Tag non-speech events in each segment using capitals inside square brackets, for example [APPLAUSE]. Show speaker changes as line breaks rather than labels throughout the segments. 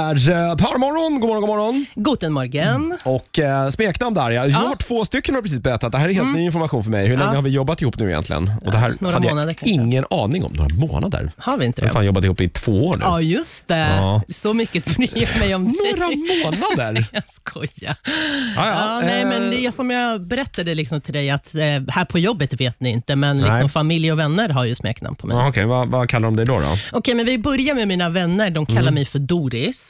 är eh, Per morgon, god morgon, god morgon.
Guten Morgen.
Och eh, smeknamn där ja. Jag har två stycken har precis berättat. Det här är helt ny information för mig. Hur länge har vi jobbat ihop nu egentligen? Och det här
Mm. några
hade jag
månader kanske.
ingen aning om. Några månader?
Har vi inte
Vi har
det?
fan jobbat ihop i två år nu.
Ja, just det.
Ja.
Så mycket bryr jag mig om
Några
dig.
månader?
[LAUGHS] Jag skojar.
Ja,
Ja, nej,
eh,
men det, är som jag berättade liksom till dig, att eh, här på jobbet vet ni inte, men liksom
Nej.
familj och vänner har ju smeknamn på mig.
ja, Okej, vad, vad kallar de dig då? då? Okej,
Okej, men vi börjar med mina vänner. De kallar mig för Doris.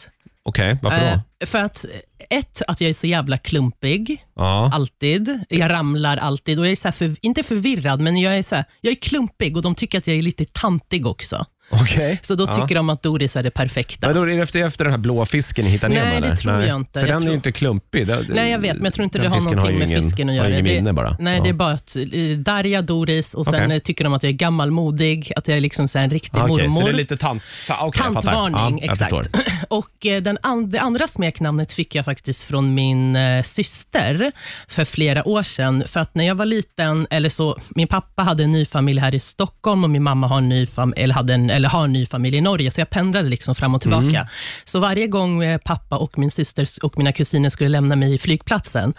Mm. varför då?
Eh, för att, ett, att jag är så jävla klumpig.
Ja.
Alltid. Jag ramlar alltid. Och jag är så här för, inte förvirrad, men jag är, så här, jag är klumpig och de tycker att jag är lite tantig också.
Okej.
Så då
ja.
tycker de att Doris är det perfekta.
Men då är det efter, efter den här blå fisken ni hittade
Nej,
ner
det tror jag
För
inte. Jag
den är
tror-
ju inte klumpig. Den-
Nej, jag vet, men jag tror inte
den
det har
fisken
någonting
ju
med
ingen,
fisken att göra.
Har ju
Det-
ingen minne bara.
Nej,
Ja.
det är bara att eh, Darja, Doris och sen
Okej.
eh, tycker de att jag är gammalmodig, att jag är liksom så här en riktig
Ah, okej,
mormor.
Så det är lite tant... Ta, okay,
Tantvarning,
jag fattar. Ja, jag
exakt. [CLEARS THROAT]
förstår.
Och eh, den an- Det andra smeknamnet fick jag faktiskt från min eh, syster för flera år sedan. För att när jag var liten, eller så, min pappa hade en ny familj här i Stockholm och min mamma har en ny, fam- eller hade en, eller har en ny familj i Norge, så jag pendlade liksom fram och tillbaka. Så varje gång eh, pappa och min syster s- och mina kusiner skulle lämna mig i flygplatsen,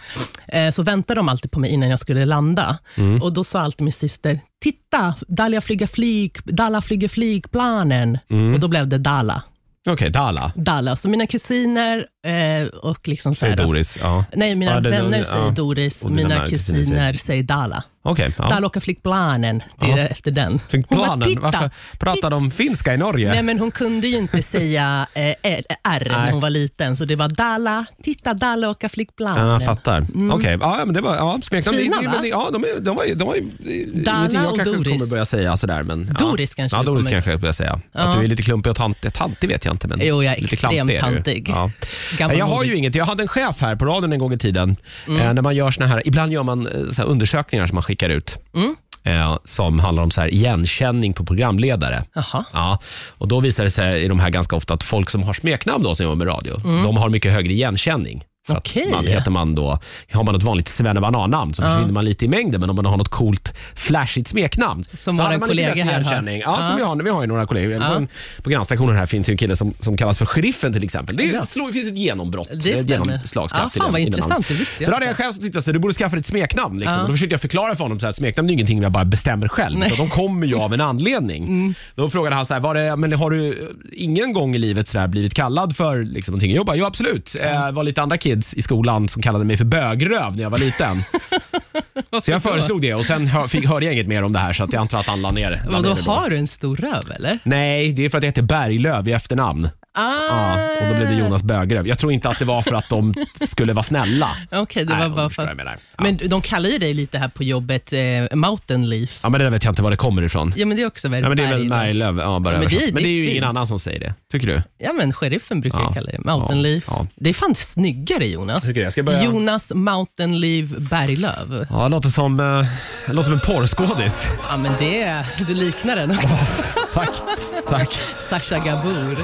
eh, så väntade de alltid på mig innan jag skulle landa. Och Då sa alltid min syster, titta, Dalla flyger, flyg, Dalla flyger flygplanen. Och Då blev det Dalla.
Okej, Dala.
Dalla. Så mina kusiner eh, och liksom så
Säger
här,
Doris. Ja.
Nej, mina
Ja, det-
vänner
ja.
säger Doris,
Och dina
mina
kusiner säger-
kusiner, säger Dalla.
Okej. ja.
Dalla åker flygplanen, det är
Ja.
efter den.
Fick
Hon bara,
planen.
"Titta,
Varför pratar de finska i Norge?
Nej, men hon kunde ju inte säga eh, L- R
Nej.
när hon var liten, så det var Dalla, titta Dalla åker
Ja,
flygplanen.
jag fattar. Okej, ja, men det var ja, smeknamn.
Mm. Fina,
det, det,
va?
men det, ja, de, är, de, var, ju- de var ju
Dalla
ingenting jag
och
kanske
Doris.
kommer börja säga sådär. Men, ja.
Doris kanske
Ja,
du
Doris
kommer-
kanske jag börjar säga. Att
Ja.
du är lite klumpig och tantig. Tantig vet jag inte, men
Jo, jag är
lite
extremt
klantig är du ju.
tantig.
Ja.
Gammal
Jag har ju
modig. Mm.
inget. Jag hade en chef här på radion en gång i tiden. Eh, när man gör såna här, ibland gör man eh, så här undersökningar som man skickar ut.
Mm.
Eh, som handlar om så här igenkänning på programledare.
Jaha.
Ja, och då visar det sig i de här ganska ofta att folk som har smeknamn då, som jobbar med radio, de har mycket högre igenkänning. För att
Mm. Okej.
man, heter man då, har man ett vanligt svennebanan-namn så försvinner man lite i mängden, men om man har något coolt, flashigt smeknamn
Som
så
vår
har man lite
kollega
bättre
här har.
igenkänning. Ja, som
Ja.
vi, har, vi har ju några kollegor. På,
Ja.
en, på grannstationen här finns ju en kille som, som kallas för Sheriffen till exempel. Det är,
Ja.
slår, finns ett genombrott,
Det
ett
stämmer.
genomslagskraft
Ja,
i
fan
den-
vad
i den
intressant,
namnet.
det visste jag
Så då hade
inte.
jag själv som tyckte att du borde skaffa ett smeknamn. Liksom.
Ja.
Och då försökte jag förklara för honom så här, att smeknamn är ingenting jag bara bestämmer själv,
Nej. Mm.
utan de kommer ju av en anledning. Då frågade han så här, var det, men har du ingen gång i livet så där blivit kallad för liksom, någonting? Jag bara, ja absolut. Eh, var lite andra kids i skolan som kallade mig för bögröv när jag var
[LAUGHS]
liten. Så jag föreslog det och sen hör, fick, hörde jag inget mer om det här så att jag antar att han la ner, la
Och
ner
då
det. då.
har du en stor röv eller?
Nej, det är för att jag heter Berglöv i efternamn.
Ah,
Ja, och då blev det Jonas Bögröv. Jag tror inte att det var för att
[LAUGHS]
de skulle vara snälla.
Okej, det
Nej,
var
om du
bara
förstår
för...
vad jag menar. Ja.
Men de kallar ju dig lite här på jobbet eh, Mountain Leaf.
Ja, men det där vet jag inte var det kommer ifrån.
Ja, men det är också väl
Ja, men det är väl
berg då.
Berglöv. Ja, bara
Ja, men det är-
översatt. men det är
det är
ju ingen
fint.
annan som säger det. Tycker du?
Ja, men sheriffen brukar
Ja.
jag kalla det. Mountain
Ja,
Leaf.
ja.
Det är fan snyggare, Jonas.
Tycker du? Jag ska börja-
Jonas Mountain Leaf Berglöv.
Ja, det låter som, eh, det låter som en
[LAUGHS]
porrskådis. [LAUGHS]
Ja, men det... Du liknar den.
Tack. Tack.
Sasha Gabor.